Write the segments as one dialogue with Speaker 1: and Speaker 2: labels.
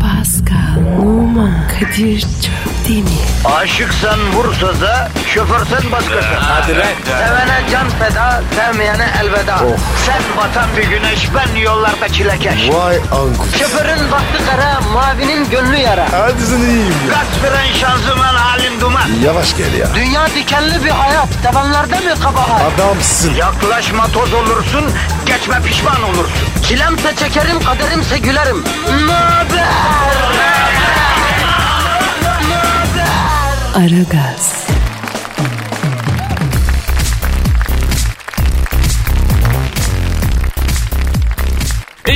Speaker 1: Pascal, Oman, Kadir çok değil mi?
Speaker 2: Aşıksan vursa da şoförsen başkasın. Hadi
Speaker 3: lan.
Speaker 2: Sevene can feda, sevmeyene elveda. Sen batan bir güneş, ben yollarda çilekeş.
Speaker 3: Vay anku.
Speaker 2: Şoförün baktı kara, mavinin gönlü yara.
Speaker 3: Hadi sen iyiyim ya.
Speaker 2: Kasperen şanzıman halin duman.
Speaker 3: Yavaş gel ya.
Speaker 2: Dünya dikenli bir hayat, sevenlerde mi kabahar?
Speaker 3: Adamsın.
Speaker 2: Yaklaşma toz olursun, geçme pişman olursun. Çilemse çekerim, kaderimse gülerim. Möber!
Speaker 1: Aragaz,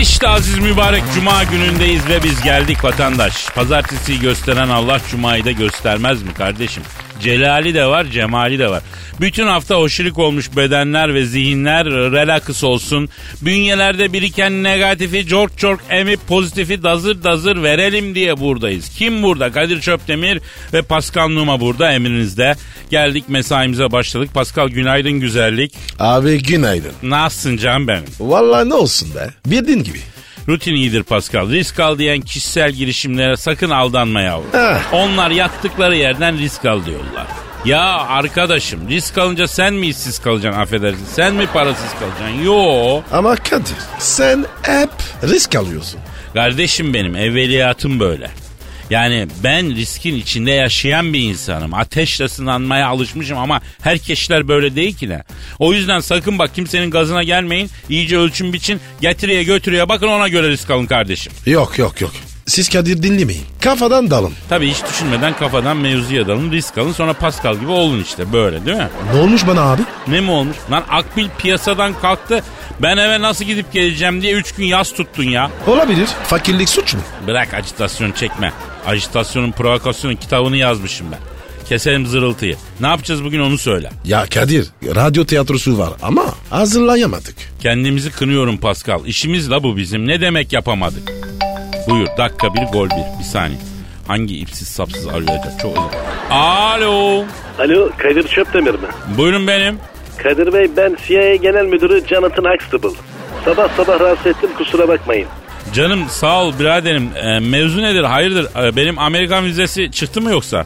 Speaker 4: İşte aziz mübarek cuma günündeyiz ve biz geldik vatandaş. Pazartesiyi gösteren Allah cumayı da göstermez mi kardeşim? Celali de var, cemali de var. Bütün hafta hoşluk olmuş bedenler ve zihinler relax olsun. Bünyelerde biriken negatifi cork cork emip pozitifi dazır dazır verelim diye buradayız. Kim burada? Kadir Çöptemir ve Pascal Numa burada emrinizde. Geldik mesaimize başladık. Pascal günaydın güzellik.
Speaker 3: Abi günaydın.
Speaker 4: Nasılsın can benim?
Speaker 3: Vallahi ne olsun be. Bildiğin gibi.
Speaker 4: Rutin iyidir Pascal. Risk al diyen kişisel girişimlere sakın aldanma yavrum.
Speaker 3: Eh.
Speaker 4: Onlar yattıkları yerden risk al diyorlar. Ya arkadaşım risk alınca sen mi işsiz kalacaksın affedersin? Sen mi parasız kalacaksın? Yo.
Speaker 3: Ama Kadir sen hep risk alıyorsun.
Speaker 4: Kardeşim benim evveliyatım böyle. Yani ben riskin içinde yaşayan bir insanım. Ateşle sınanmaya alışmışım ama herkesler böyle değil ki ne. O yüzden sakın bak kimsenin gazına gelmeyin. İyice ölçün biçin. Getiriye götürüye bakın ona göre risk alın kardeşim.
Speaker 3: Yok yok yok. Siz Kadir dinlemeyin. Kafadan dalın.
Speaker 4: Tabii hiç düşünmeden kafadan mevzuya dalın, risk alın sonra Pascal gibi olun işte böyle değil mi?
Speaker 3: Ne olmuş bana abi?
Speaker 4: Ne mi olmuş? Lan Akbil piyasadan kalktı. Ben eve nasıl gidip geleceğim diye 3 gün yas tuttun ya.
Speaker 3: Olabilir. Fakirlik suç mu?
Speaker 4: Bırak ajitasyon çekme. Ajitasyonun provokasyonun kitabını yazmışım ben. Keselim zırıltıyı. Ne yapacağız bugün onu söyle.
Speaker 3: Ya Kadir radyo tiyatrosu var ama hazırlayamadık.
Speaker 4: Kendimizi kınıyorum Pascal. İşimiz la bu bizim. Ne demek yapamadık? Buyur dakika bir gol bir. Bir saniye. Hangi ipsiz sapsız arayacak? Çok özür Alo.
Speaker 5: Alo Kadir Çöpdemir mi?
Speaker 4: Buyurun benim.
Speaker 5: Kadir Bey ben CIA Genel Müdürü Jonathan Huxtable. Sabah sabah rahatsız ettim kusura bakmayın.
Speaker 4: Canım sağ ol biraderim. Ee, mevzu nedir? Hayırdır? Ee, benim Amerikan vizesi çıktı mı yoksa?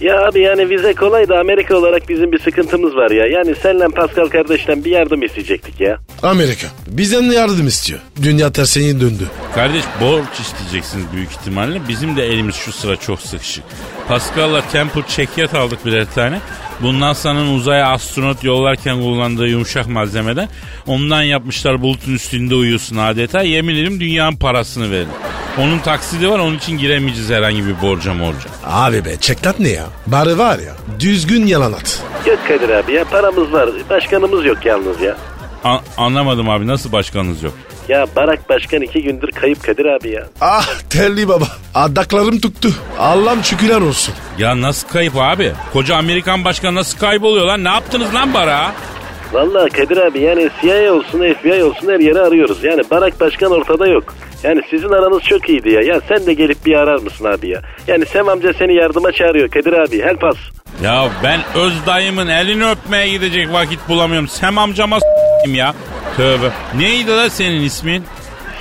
Speaker 5: Ya abi yani vize kolay da Amerika olarak bizim bir sıkıntımız var ya. Yani senle Pascal kardeşten bir yardım isteyecektik ya.
Speaker 3: Amerika bizden ne yardım istiyor? Dünya tersine döndü.
Speaker 4: Kardeş borç isteyeceksiniz büyük ihtimalle. Bizim de elimiz şu sıra çok sıkışık. Pascal'la Temple çekyat aldık birer tane. Bu NASA'nın uzaya astronot yollarken kullandığı yumuşak malzemeden. Ondan yapmışlar bulutun üstünde uyuyorsun adeta. Yemin ederim dünyanın parasını verin. Onun taksidi var onun için giremeyeceğiz herhangi bir borca morca.
Speaker 3: Abi be çeklat ne ya? Bari var ya düzgün yalan at.
Speaker 5: Yok Kadir abi ya paramız var. Başkanımız yok yalnız ya.
Speaker 4: A- anlamadım abi nasıl başkanınız yok?
Speaker 5: Ya Barak Başkan iki gündür kayıp Kadir abi ya.
Speaker 3: Ah telli baba. Adaklarım tuttu. Allah'ım şükürler olsun.
Speaker 4: Ya nasıl kayıp abi? Koca Amerikan başkanı nasıl kayboluyor lan? Ne yaptınız lan bara?
Speaker 5: Vallahi Kadir abi yani CIA olsun FBI olsun her yere arıyoruz. Yani Barak Başkan ortada yok. Yani sizin aranız çok iyiydi ya. Ya sen de gelip bir arar mısın abi ya? Yani Sem amca seni yardıma çağırıyor Kadir abi. Help us.
Speaker 4: Ya ben öz dayımın elini öpmeye gidecek vakit bulamıyorum. Sem amcama s**eyim ya. Tövbe. Neydi la senin ismin?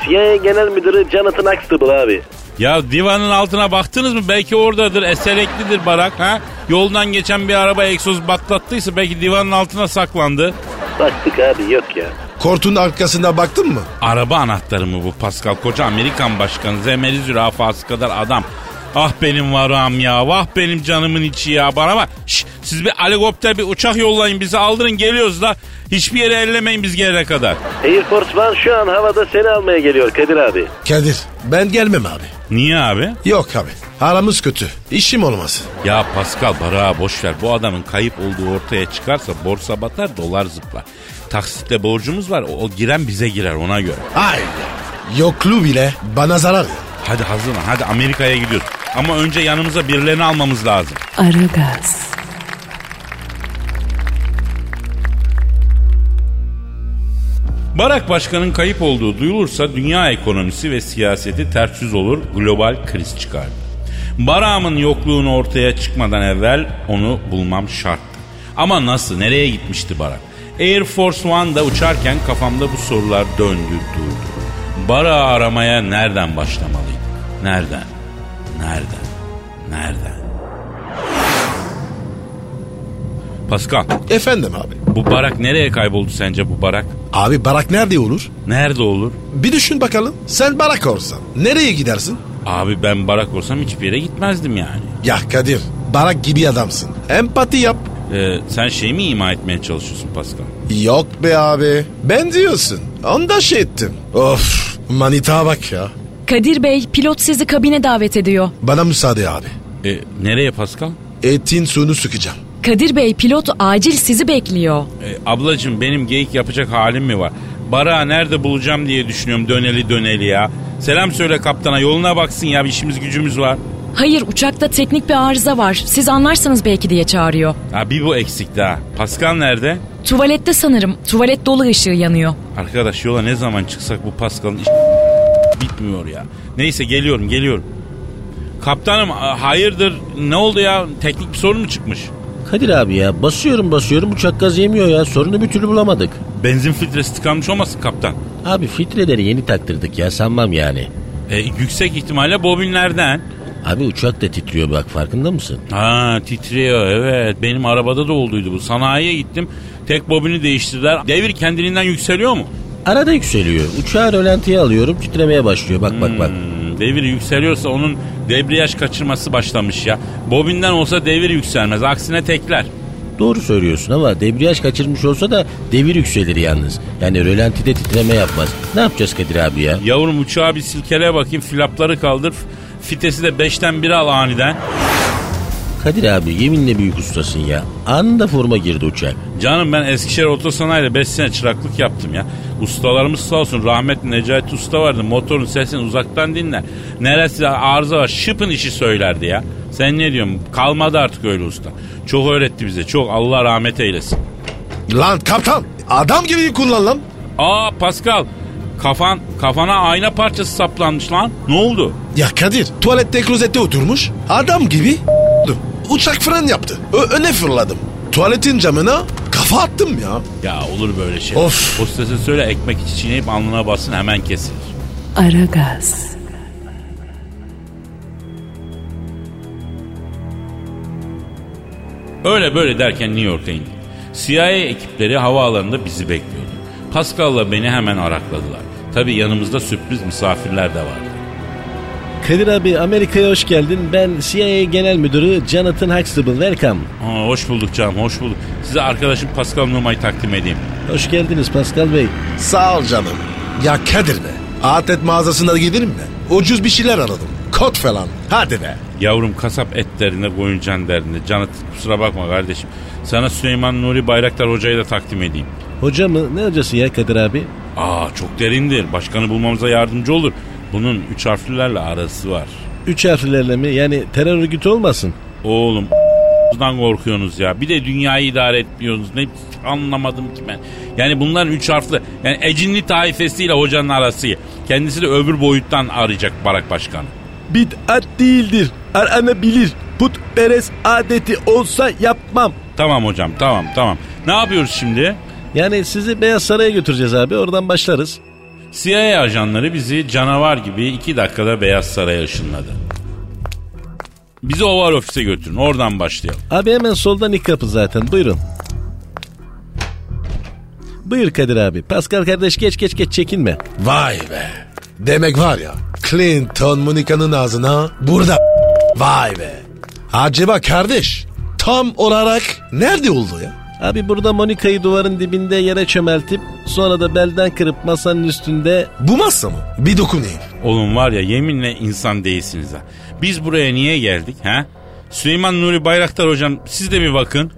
Speaker 5: CIA Genel Müdürü Jonathan Huxtable abi.
Speaker 4: Ya divanın altına baktınız mı? Belki oradadır. Eseleklidir barak ha. Yoldan geçen bir araba egzoz patlattıysa belki divanın altına saklandı.
Speaker 5: Baktık abi yok ya.
Speaker 3: Kortun arkasına baktın mı?
Speaker 4: Araba anahtarı mı bu Pascal? Koca Amerikan başkanı zemeli zürafası kadar adam. Ah benim varağım ya. Vah benim canımın içi ya. Bana bak. Şş, siz bir helikopter bir uçak yollayın bizi aldırın geliyoruz da. Hiçbir yere ellemeyin biz gelene kadar.
Speaker 5: Air Force One şu an havada seni almaya geliyor Kadir abi.
Speaker 3: Kadir ben gelmem abi.
Speaker 4: Niye abi?
Speaker 3: Yok abi. Aramız kötü. İşim olmaz.
Speaker 4: Ya Pascal Barak'a boş ver. Bu adamın kayıp olduğu ortaya çıkarsa borsa batar dolar zıplar. Taksitle borcumuz var. O, o giren bize girer ona göre.
Speaker 3: Hayır. Yokluğu bile bana zarar. ya.
Speaker 4: Hadi hazırlan. Hadi Amerika'ya gidiyoruz. Ama önce yanımıza birilerini almamız lazım.
Speaker 1: Aragaz,
Speaker 4: Barak Başkan'ın kayıp olduğu duyulursa dünya ekonomisi ve siyaseti ters yüz olur, global kriz çıkar. Barak'ımın yokluğunu ortaya çıkmadan evvel onu bulmam şarttı. Ama nasıl, nereye gitmişti Barak? Air Force One'da uçarken kafamda bu sorular döndü durdu. Barak'ı aramaya nereden başlamalıyım? Nereden? Nereden? Nereden? Pascal,
Speaker 3: Efendim abi.
Speaker 4: bu barak nereye kayboldu sence bu barak?
Speaker 3: Abi barak nerede olur?
Speaker 4: Nerede olur?
Speaker 3: Bir düşün bakalım. Sen barak olsan nereye gidersin?
Speaker 4: Abi ben barak olsam hiçbir yere gitmezdim yani.
Speaker 3: Ya Kadir barak gibi adamsın. Empati yap.
Speaker 4: Ee, sen şey mi ima etmeye çalışıyorsun Pascal?
Speaker 3: Yok be abi. Ben diyorsun. Onda şey ettim. Of manita bak ya.
Speaker 6: Kadir Bey pilot sizi kabine davet ediyor.
Speaker 3: Bana müsaade abi.
Speaker 4: Ee, nereye Pascal?
Speaker 3: Etin suyunu sıkacağım.
Speaker 6: Kadir Bey pilot acil sizi bekliyor.
Speaker 4: E, ablacığım benim geyik yapacak halim mi var? Bara nerede bulacağım diye düşünüyorum döneli döneli ya. Selam söyle kaptana yoluna baksın ya bir işimiz gücümüz var.
Speaker 6: Hayır uçakta teknik bir arıza var. Siz anlarsınız belki diye çağırıyor.
Speaker 4: Ha bir bu eksik daha. Pascal nerede?
Speaker 6: Tuvalette sanırım. Tuvalet dolu ışığı yanıyor.
Speaker 4: Arkadaş yola ne zaman çıksak bu Pascal'ın iş... bitmiyor ya. Neyse geliyorum geliyorum. Kaptanım a- hayırdır ne oldu ya teknik bir sorun mu çıkmış?
Speaker 7: Kadir abi ya basıyorum basıyorum uçak gaz yemiyor ya sorunu bir türlü bulamadık.
Speaker 4: Benzin filtresi tıkanmış olmasın kaptan?
Speaker 7: Abi filtreleri yeni taktırdık ya sanmam yani.
Speaker 4: E, yüksek ihtimalle bobinlerden.
Speaker 7: Abi uçak da titriyor bak farkında mısın?
Speaker 4: Ha titriyor evet. Benim arabada da olduydu bu. Sanayiye gittim. Tek bobini değiştirdiler. Devir kendiliğinden yükseliyor mu?
Speaker 7: Arada yükseliyor. Uçağı rölantiye alıyorum titremeye başlıyor bak bak bak.
Speaker 4: Hmm, devir yükseliyorsa onun debriyaj kaçırması başlamış ya. Bobinden olsa devir yükselmez. Aksine tekler.
Speaker 7: Doğru söylüyorsun ama debriyaj kaçırmış olsa da devir yükselir yalnız. Yani rölantide titreme yapmaz. Ne yapacağız Kadir abi ya?
Speaker 4: Yavrum uçağı bir silkele bakayım. Flapları kaldır. Fitesi de 5'ten 1'e al aniden.
Speaker 7: Kadir abi yeminle büyük ustasın ya. Anında forma girdi uçak.
Speaker 4: Canım ben Eskişehir Otosanayi'de 5 sene çıraklık yaptım ya. Ustalarımız sağ olsun rahmetli Necati Usta vardı. Motorun sesini uzaktan dinler. Neresi arıza var şıpın işi söylerdi ya. Sen ne diyorsun? Kalmadı artık öyle usta. Çok öğretti bize çok. Allah rahmet eylesin.
Speaker 3: Lan kaptan adam gibi kullan lan.
Speaker 4: Aa Pascal kafan kafana ayna parçası saplanmış lan. Ne oldu?
Speaker 3: Ya Kadir tuvalette klozette oturmuş. Adam gibi dur. Uçak fren yaptı. Ö- öne fırladım. Tuvaletin camına kafa attım ya.
Speaker 4: Ya olur böyle şey.
Speaker 3: Of.
Speaker 4: Hostese söyle ekmek içi çiğneyip alnına bassın hemen kesilir.
Speaker 1: Aragaz,
Speaker 4: Öyle böyle derken New York'a indik. CIA ekipleri havaalanında bizi bekliyordu. Pascal'la beni hemen arakladılar. Tabii yanımızda sürpriz misafirler de vardı.
Speaker 7: Kadir abi Amerika'ya hoş geldin. Ben CIA Genel Müdürü Jonathan Huxtable. Welcome.
Speaker 4: Aa, hoş bulduk canım, hoş bulduk. Size arkadaşım Pascal Numa'yı takdim edeyim.
Speaker 7: Hoş geldiniz Pascal Bey.
Speaker 3: Sağ ol canım. Ya Kadir be. E Atlet mağazasına gidelim mi? Ucuz bir şeyler aradım. Kot falan. Hadi be.
Speaker 4: Yavrum kasap et derine, koyuncan derine. Canat kusura bakma kardeşim. Sana Süleyman Nuri Bayraktar Hoca'yı da takdim edeyim.
Speaker 7: Hoca mı? Ne hocası ya Kadir abi?
Speaker 4: Aa çok derindir. Başkanı bulmamıza yardımcı olur. Bunun üç harflilerle arası var.
Speaker 7: Üç harflerle mi? Yani terör örgütü olmasın.
Speaker 4: Oğlum dan korkuyorsunuz ya. Bir de dünyayı idare etmiyorsunuz. Ne anlamadım ki ben. Yani bunların üç harfli yani Ecinli taifesiyle hocanın arası. Kendisi de öbür boyuttan arayacak Barak Başkanı.
Speaker 7: Bid'at değildir. Arana bilir. Putperest adeti olsa yapmam.
Speaker 4: Tamam hocam tamam tamam. Ne yapıyoruz şimdi?
Speaker 7: Yani sizi Beyaz Saray'a götüreceğiz abi. Oradan başlarız.
Speaker 4: CIA ajanları bizi canavar gibi iki dakikada Beyaz Saray'a ışınladı. Bizi oval ofise götürün oradan başlayalım.
Speaker 7: Abi hemen soldan ilk kapı zaten. Buyurun. Buyur Kadir abi. Pascal kardeş geç geç geç çekinme.
Speaker 3: Vay be. Demek var ya. Clinton Monika'nın ağzına burada. Vay be. Acaba kardeş tam olarak nerede oldu ya?
Speaker 7: Abi burada Monika'yı duvarın dibinde yere çömeltip sonra da belden kırıp masanın üstünde
Speaker 3: Bu masa mı? Bir dokunayım.
Speaker 4: Oğlum var ya yeminle insan değilsiniz ha. Biz buraya niye geldik ha? Süleyman Nuri Bayraktar hocam siz de bir bakın.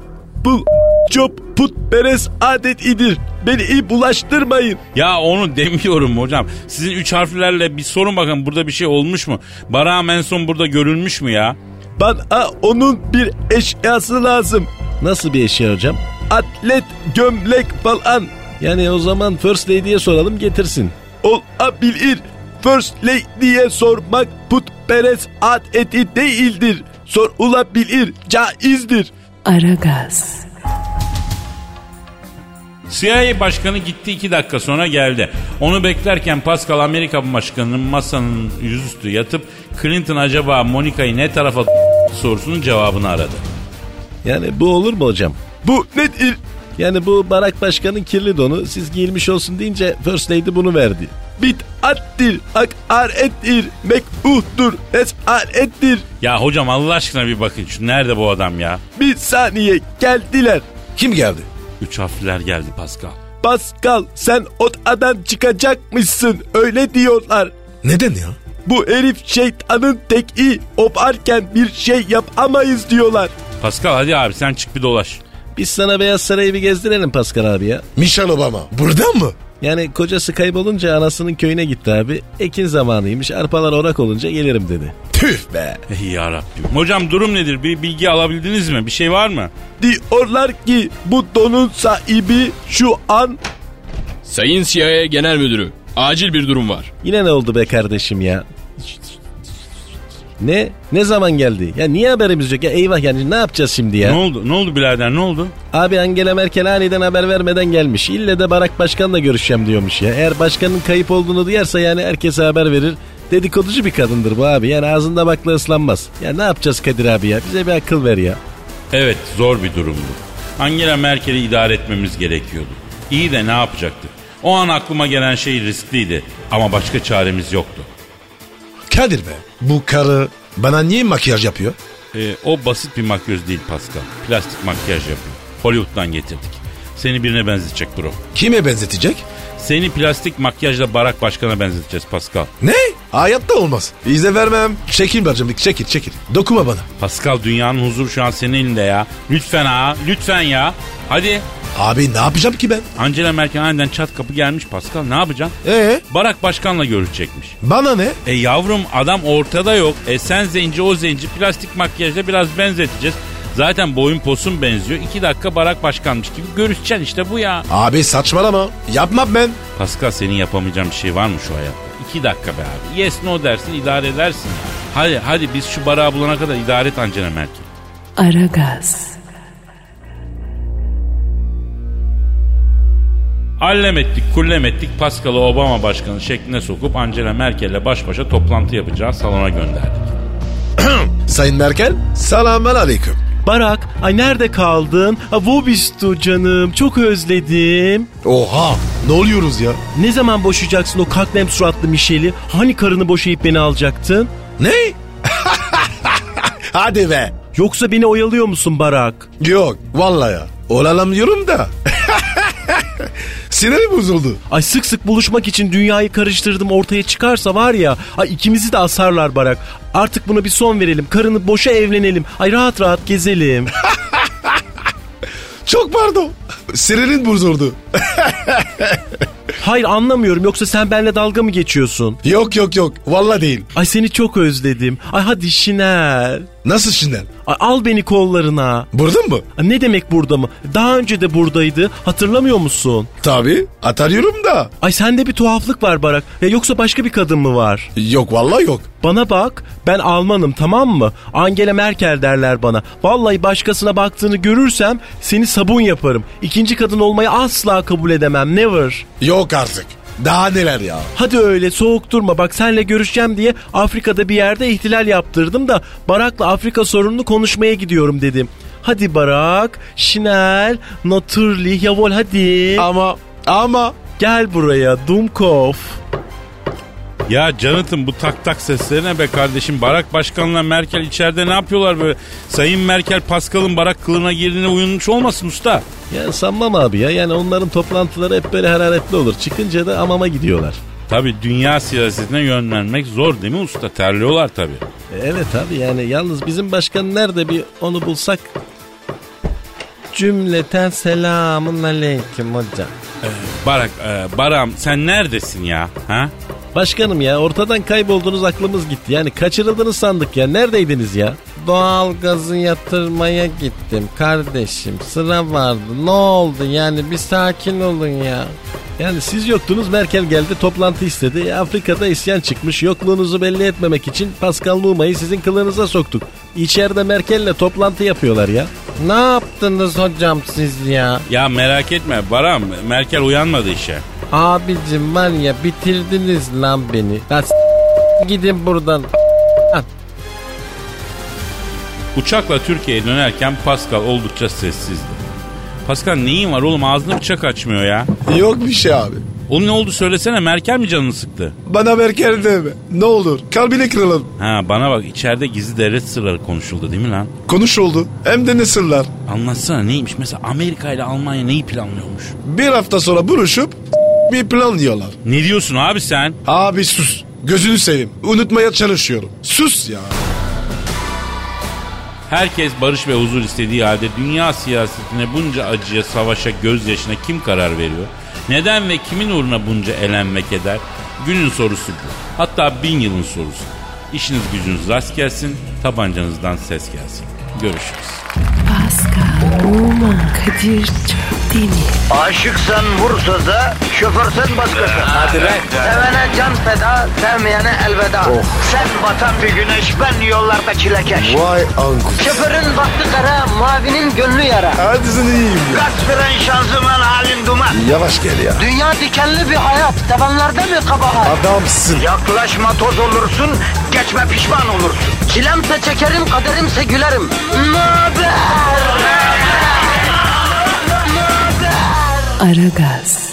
Speaker 7: bu çöp putperest adet idir. Beni iyi bulaştırmayın.
Speaker 4: Ya onu demiyorum hocam. Sizin üç harflerle bir sorun bakın burada bir şey olmuş mu? Barak'a en son burada görülmüş mü ya?
Speaker 7: Bana onun bir eşyası lazım. Nasıl bir eşya hocam? Atlet, gömlek falan. Yani o zaman First Lady'ye soralım getirsin. Olabilir. First Lady'ye sormak putperest adeti değildir. Sorulabilir, caizdir.
Speaker 1: Aragaz,
Speaker 4: CIA başkanı gitti iki dakika sonra geldi. Onu beklerken Pascal Amerika başkanının masanın yüzüstü yatıp Clinton acaba Monica'yı ne tarafa sorusunun cevabını aradı.
Speaker 7: Yani bu olur mu hocam? Bu ne il? Yani bu Barak Başkan'ın kirli donu siz giyilmiş olsun deyince First Lady bunu verdi. Bit attir, ak ar ettir, mekbuhtur, es ar ettir.
Speaker 4: Ya hocam Allah aşkına bir bakın şu nerede bu adam ya?
Speaker 7: Bir saniye geldiler.
Speaker 3: Kim geldi?
Speaker 4: Üç harfler geldi Pascal.
Speaker 7: Pascal sen ot adam çıkacakmışsın öyle diyorlar.
Speaker 3: Neden ya?
Speaker 7: Bu herif şeytanın teki oparken bir şey yapamayız diyorlar.
Speaker 4: Pascal hadi abi sen çık bir dolaş.
Speaker 7: Biz sana Beyaz Saray'ı bir gezdirelim Pascal abi ya.
Speaker 3: Michelle Obama. Buradan mı?
Speaker 7: Yani kocası kaybolunca anasının köyüne gitti abi. Ekin zamanıymış arpalar orak olunca gelirim dedi.
Speaker 3: Tüh be.
Speaker 4: Ey yarabbim. Hocam durum nedir? Bir bilgi alabildiniz mi? Bir şey var mı?
Speaker 7: Diyorlar ki bu donun sahibi şu an...
Speaker 8: Sayın CIA Genel Müdürü, acil bir durum var.
Speaker 7: Yine ne oldu be kardeşim ya? Ne? Ne zaman geldi? Ya niye haberimiz yok? Ya eyvah yani ne yapacağız şimdi ya?
Speaker 4: Ne oldu? Ne oldu birader? Ne oldu?
Speaker 7: Abi Angela Merkel aniden haber vermeden gelmiş. İlle de Barak Başkan'la görüşeceğim diyormuş ya. Eğer başkanın kayıp olduğunu duyarsa yani herkese haber verir. Dedikoducu bir kadındır bu abi. Yani ağzında bakla ıslanmaz. Ya ne yapacağız Kadir abi ya? Bize bir akıl ver ya.
Speaker 4: Evet zor bir durumdu. Angela Merkel'i idare etmemiz gerekiyordu. İyi de ne yapacaktık? O an aklıma gelen şey riskliydi ama başka çaremiz yoktu.
Speaker 3: Kadir be. Bu karı bana niye makyaj yapıyor?
Speaker 4: Ee, o basit bir makyöz değil Pascal. Plastik makyaj yapıyor. Hollywood'dan getirdik. Seni birine benzetecek bro.
Speaker 3: Kime benzetecek?
Speaker 4: Seni plastik makyajla Barak Başkan'a benzeteceğiz Pascal.
Speaker 3: Ne? Hayatta olmaz. İzle vermem. Çekil bacım. Çekil çekil. Dokunma bana.
Speaker 4: Pascal dünyanın huzuru şu an senin elinde ya. Lütfen ha, lütfen ya. Hadi.
Speaker 3: Abi ne yapacağım ki ben?
Speaker 4: Angela Merkel aniden çat kapı gelmiş Pascal. Ne yapacaksın?
Speaker 3: Ee?
Speaker 4: Barak Başkan'la görüşecekmiş.
Speaker 3: Bana ne?
Speaker 4: E yavrum adam ortada yok. E sen zenci o zenci plastik makyajla biraz benzeteceğiz. Zaten boyun posun benziyor. İki dakika barak başkanmış gibi görüşeceksin işte bu ya.
Speaker 3: Abi saçmalama. Yapmam ben.
Speaker 4: Pascal senin yapamayacağın bir şey var mı şu hayatta? İki dakika be abi. Yes no dersin idare edersin. Hadi hadi biz şu barağı bulana kadar idare et Angela Merkel.
Speaker 1: Aragaz,
Speaker 4: Allem ettik, kullem ettik Pascal'ı Obama başkanı şekline sokup Angela Merkel'le baş başa toplantı yapacağı salona gönderdik.
Speaker 3: Sayın Merkel. Selamun aleyküm.
Speaker 7: Barak, ay nerede kaldın? Vobistu canım, çok özledim.
Speaker 3: Oha. Ne oluyoruz ya?
Speaker 7: Ne zaman boşayacaksın o kaklem suratlı Mişel'i? Hani karını boşayıp beni alacaktın?
Speaker 3: Ne? Hadi be.
Speaker 7: Yoksa beni oyalıyor musun Barak?
Speaker 3: Yok. Vallahi ya. Olalım diyorum da. Sinirim bozuldu.
Speaker 7: Ay sık sık buluşmak için dünyayı karıştırdım ortaya çıkarsa var ya. Ay ikimizi de asarlar Barak. Artık buna bir son verelim. Karını boşa evlenelim. Ay rahat rahat gezelim.
Speaker 3: Çok pardon. Sinirin bozuldu.
Speaker 7: Hayır anlamıyorum yoksa sen benimle dalga mı geçiyorsun?
Speaker 3: Yok yok yok. Vallahi değil.
Speaker 7: Ay seni çok özledim. Ay hadi Şiner.
Speaker 3: Nasıl Şinel?
Speaker 7: Ay al beni kollarına.
Speaker 3: Burada mı?
Speaker 7: Ay ne demek burada mı? Daha önce de buradaydı. Hatırlamıyor musun?
Speaker 3: Tabii. Atarıyorum da.
Speaker 7: Ay sende bir tuhaflık var Barak. Ya yoksa başka bir kadın mı var?
Speaker 3: Yok vallahi yok.
Speaker 7: Bana bak ben Almanım tamam mı? Angela Merkel derler bana. Vallahi başkasına baktığını görürsem seni sabun yaparım. İkinci kadın olmayı asla kabul edemem never.
Speaker 3: Yok artık. Daha neler ya.
Speaker 7: Hadi öyle soğuk durma bak senle görüşeceğim diye Afrika'da bir yerde ihtilal yaptırdım da Barak'la Afrika sorununu konuşmaya gidiyorum dedim. Hadi Barak, Şinel, Naturli, Yavol hadi.
Speaker 3: Ama ama
Speaker 7: Gel buraya Dumkov.
Speaker 4: Ya Canıt'ın bu tak tak seslerine be kardeşim. Barak Başkan'la Merkel içeride ne yapıyorlar böyle? Sayın Merkel Pascal'ın Barak kılığına girdiğine uyunmuş olmasın usta.
Speaker 7: Ya sanmam abi ya yani onların toplantıları hep böyle hararetli olur. Çıkınca da amama gidiyorlar.
Speaker 4: Tabi dünya siyasetine yönlenmek zor değil mi usta? Terliyorlar tabi.
Speaker 7: E, Evet abi yani yalnız bizim başkan nerede bir onu bulsak. Cümleten selamun aleyküm hocam.
Speaker 4: Barak, e, Baram sen neredesin ya? Ha?
Speaker 7: Başkanım ya ortadan kayboldunuz aklımız gitti. Yani kaçırıldınız sandık ya. Neredeydiniz ya? Doğal gazı yatırmaya gittim kardeşim. Sıra vardı. Ne oldu yani bir sakin olun ya. Yani siz yoktunuz Merkel geldi toplantı istedi. E, Afrika'da isyan çıkmış. Yokluğunuzu belli etmemek için Pascal Numa'yı sizin kılığınıza soktuk. İçeride Merkel'le toplantı yapıyorlar ya.
Speaker 9: Ne yaptınız hocam siz ya?
Speaker 4: Ya merak etme Baram Merkel uyanmadı işe.
Speaker 9: Abicim var ya bitirdiniz lan beni. Ya s- gidin buradan.
Speaker 4: Uçakla Türkiye'ye dönerken Pascal oldukça sessizdi. Pascal neyin var oğlum ağzını bıçak açmıyor ya.
Speaker 3: Yok bir şey abi.
Speaker 4: Onun ne oldu söylesene Merkel mi canını sıktı?
Speaker 3: Bana Merkel deme. Ne olur kalbini kıralım.
Speaker 4: Ha bana bak içeride gizli devlet sırları konuşuldu değil mi lan?
Speaker 3: Konuş oldu. Hem de ne sırlar.
Speaker 4: Anlatsana neymiş mesela Amerika ile Almanya neyi planlıyormuş?
Speaker 3: Bir hafta sonra buluşup bir plan diyorlar.
Speaker 4: Ne diyorsun abi sen?
Speaker 3: Abi sus. Gözünü seveyim. Unutmaya çalışıyorum. Sus ya.
Speaker 4: Herkes barış ve huzur istediği halde dünya siyasetine bunca acıya, savaşa, gözyaşına kim karar veriyor? Neden ve kimin uğruna bunca elenmek eder? Günün sorusu bu. Hatta bin yılın sorusu. İşiniz gücünüz rast gelsin, tabancanızdan ses gelsin. Görüşürüz.
Speaker 1: Pascal, Oman, Kadir çok değil mi?
Speaker 2: Aşıksan vursa da, şoförsen başkasın. Hadi Sevene can feda, sevmeyene elveda. Sen batan bir güneş, ben yollarda çilekeş.
Speaker 3: Vay anku.
Speaker 2: Şoförün baktı kara, mavinin gönlü yara.
Speaker 3: Hadi sen iyiyim ya.
Speaker 2: Kasperen şanzıman halin duman.
Speaker 3: Yavaş gel ya.
Speaker 2: Dünya dikenli bir hayat, sevenlerde mi kabahar?
Speaker 3: Adamsın.
Speaker 2: Yaklaşma toz olursun, geçme pişman olursun. Çilemse çekerim, kaderimse gülerim. Möber!
Speaker 1: Aragaz.